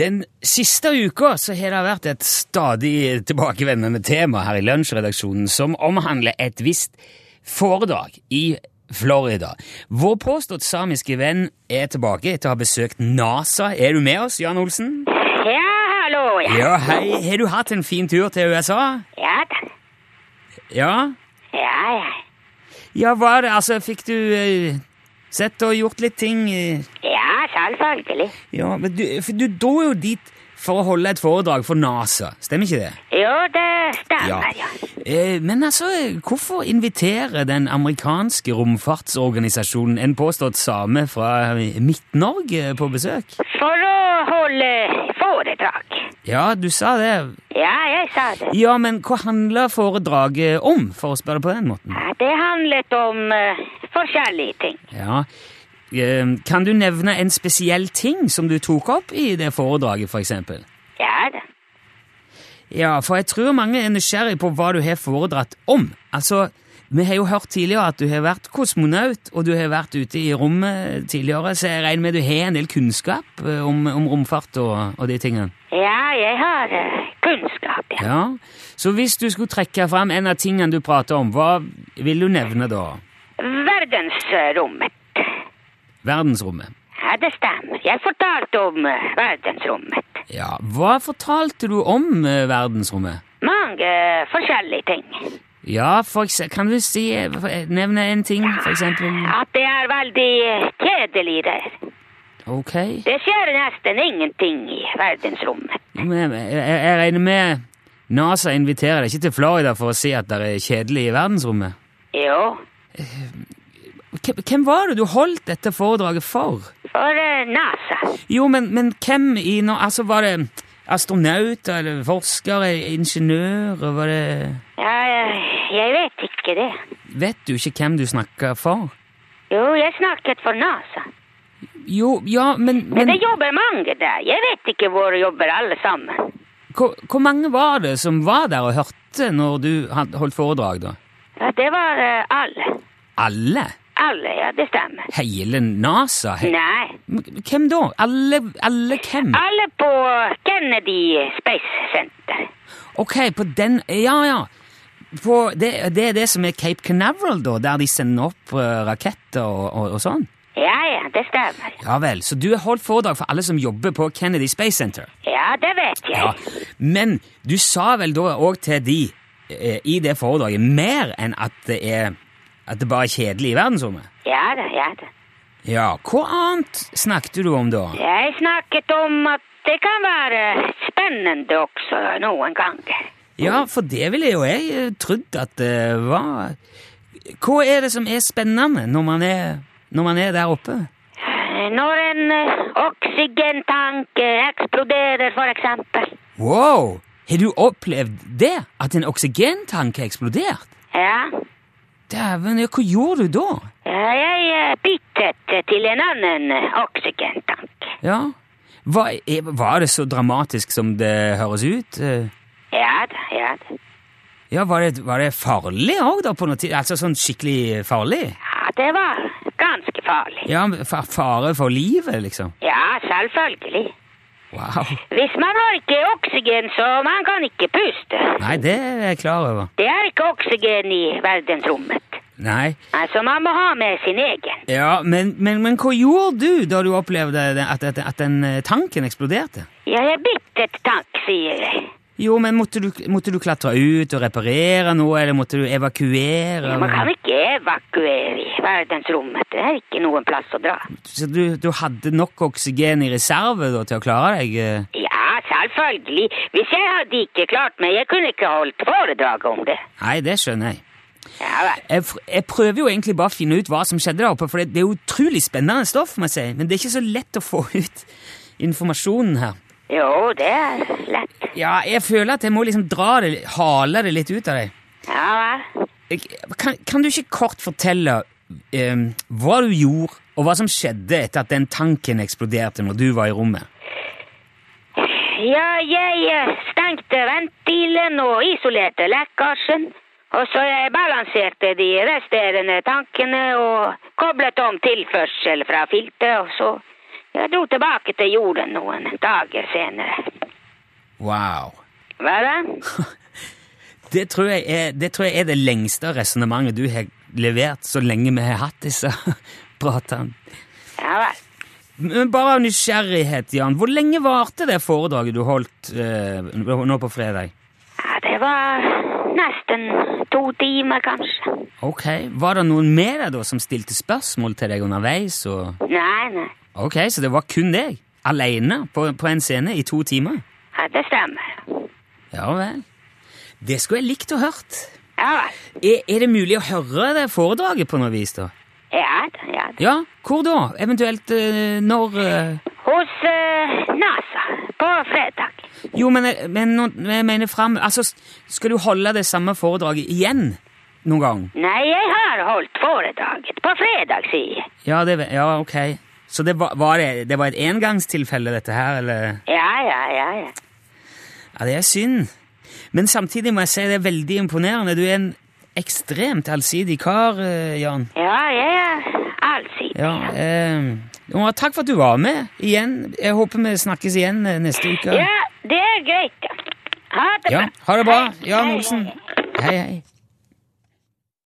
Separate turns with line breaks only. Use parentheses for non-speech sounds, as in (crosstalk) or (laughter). Den siste uka så har det vært et stadig tilbakevendende tema her i lunsjredaksjonen som omhandler et visst foredrag i Florida. Vår påstått samiske venn er tilbake etter å ha besøkt NASA. Er du med oss, Jan Olsen?
Ja, hallo, ja.
Ja, hei. Har du hatt en fin tur til USA?
Ja da.
Ja?
Ja, ja.
Ja, hva er det? Altså, fikk du eh, sett og gjort litt ting? eh?
Ja, selvfølgelig.
Ja, men du, for du dro jo dit for å holde et foredrag for NASA, stemmer ikke det?
Jo, det stemmer, ja.
Eh, Men altså, hvorfor inviterer den amerikanske romfartsorganisasjonen en påstått same fra Midt-Norge på besøk?
For å holde foredrag.
Ja, du sa det.
Ja, jeg sa det.
Ja, men hva handler foredraget om, for å spørre på den måten?
Ja, Det handlet om eh, forskjellige ting.
Ja, eh, kan du nevne en spesiell ting som du tok opp i det foredraget, for eksempel?
Ja da.
Ja, for jeg tror mange er nysgjerrig på hva du har foredratt om. Altså, vi har jo hørt tidligere at du har vært kosmonaut, og du har vært ute i rommet tidligere, så jeg regner med du har en del kunnskap eh, om, om romfart og, og de tingene.
Ja, jeg har eh, kunnskap, ja.
Ja, så hvis du skulle trekke fram en av tingene du prater om, hva vil du nevne da?
Verdensrommet.
Verdensrommet.
Ja, det stemmer. Jeg fortalte om eh, verdensrommet.
Ja, hva fortalte du om eh, verdensrommet?
Mange eh, forskjellige ting.
Ja, for eksempel, kan du si, eh, nevne en ting, for eksempel?
At det er veldig eh, kjedelig der.
Ok.
Det skjer nesten ingenting i verdensrommet.
Men Jeg jeg regner med NASA inviterer deg ikke til Florida for å si at det er kjedelig i verdensrommet.
Jo,
Hvem hvem var det du holdt dette foredraget for?
for eh, NASA.
Jo, men, men hvem i nå... Altså, var det astronauter eller forskere, ingeniører, var det
Ja, eh, jeg vet ikke det.
Vet du ikke hvem du snakker for?
Jo, jeg snakket for NASA.
Jo, ja, men,
Men
men
det jobber mange der. Jeg vet ikke hvor jobber alle sammen.
hvor, hvor mange var det som var der og hørte når du had- holdt foredrag, da?
Ja, det var eh, alle.
Alle?
Alle, ja, det stemmer.
Hele NASA? He
Nei,
M- Hvem da? Alle, alle hvem?
alle på Kennedy Space Center.
Ok, på den Ja, ja. På det, det er det som er Cape Canaveral, da, der de sender opp eh, raketter og, og, og sånn?
Ja, ja, det stemmer.
Ja vel, så du har holdt foredrag for alle som jobber på Kennedy Space Center?
Ja, det vet jeg.
Ja. Men du sa vel da òg til de eh, i det foredraget mer enn at det er at det bare er kjedelig i verdensrommet?
Ja da, ja da.
Ja, hva annet snakket du om da?
Jeg snakket om at det kan være spennende også noen ganger.
Ja, for det ville jo jeg eh, trodd at det var. Hva er det som er spennende når man er, når man er der oppe?
Når en eh, oksygentank eh, eksploderer, for eksempel.
Wow! Har du opplevd det? At en oksygentank har eksplodert?
Ja.
Dæven, ja, hva gjorde du da?
Ja, Jeg eh, byttet eh, til en annen eh, oksygentank.
Ja, Hva, er, Var det så dramatisk som det høres ut? Eh,
Ja da, ja da.
Ja, Var det, var det farlig òg, da? på noe tid? Altså sånn skikkelig farlig?
Ja, det var ganske farlig.
Ja, fa- Fare for livet, liksom?
Ja, selvfølgelig.
Wow.
Hvis man har ikke oksygen, så man kan ikke puste.
Nei, det er jeg klar over.
Det er ikke oksygen i verdensrommet.
Nei.
Altså, man må ha med sin egen.
Ja, men, men, men hva gjorde du da du opplevde det- at, at, at den eh, tanken eksploderte?
Ja, jeg byttet tank, sier jeg.
Jo, men måtte du, måtte du klatre ut og reparere noe, eller måtte du evakuere?
Man kan ikke evakuere i verdensrommet. Det er ikke noen plass å dra.
Så du, du hadde nok oksygen i reserve da, til å klare deg? eh?
Ja, selvfølgelig. Hvis jeg hadde ikke klart meg, jeg kunne ikke holdt foredrag om det.
Nei, det skjønner jeg.
Ja vel.
Jeg, fr- jeg prøver jo egentlig bare å finne ut hva som skjedde der oppe, for det, det er utrolig spennende stoff, må jeg si, men det er ikke så lett å få ut informasjonen her.
Jo, det er lett.
Ja, jeg føler at jeg må liksom dra det, hale det litt ut av deg.
Ja vel.
Jeg- Kan, kan du ikke kort fortelle eh, hva du gjorde, og hva som skjedde etter at den tanken eksploderte når du var i rommet?
Ja, jeg eh, stengte ventilen og isolerte lekkasjen. Og så jeg balanserte de resterende tankene og koblet om tilførsel fra filteret, og så Jeg dro tilbake til jorden noen dager senere.
Wow.
Hva da?
Det tror jeg er det, tror jeg er det lengste resonnementet du har levert så lenge vi har hatt disse (laughs) pratene.
Ja vel.
Men Bare av nysgjerrighet, Jan, hvor lenge varte det foredraget du holdt eh, nå på fredag?
Ja, det var nesten to timer, kanskje.
Ok, Var det noen med deg da som stilte spørsmål til deg underveis? Og...
Nei, nei.
Ok, Så det var kun deg? Aleine på, på en scene i to timer?
Ja, det stemmer.
Ja vel. Det skulle jeg likt å hørt.
Ja vel.
Er, er det mulig å høre det foredraget på noe vis, da?
Ja da, ja da.
Ja, hvor da? Eventuelt eh, når eh,
Hos eh, NASA på fredag.
Jo, men, jeg- men nå- jeg mener fram Altså, s- skal du holde det samme foredraget igjen noen gang?
Nei, jeg har holdt foredraget på fredag, sier jeg.
Ja, det, ve- ja ok. Så det var, var det, det var et engangstilfelle, dette her, eller?
Ja, ja, ja, ja.
Ja, det er synd. Men samtidig må jeg si det er veldig imponerende. Du er en ekstremt allsidig kar, eh, Jan.
Ja, jeg er allsidig.
Ja, eh, og takk for at du var med igjen. Jeg håper vi snakkes igjen eh, neste uke.
Ja, det er greit. ja. Ha det
Ja,
bra.
ha det bra,
Hei.
Jan
Hei,
Olsen.
hei, hei.
Hei, hei.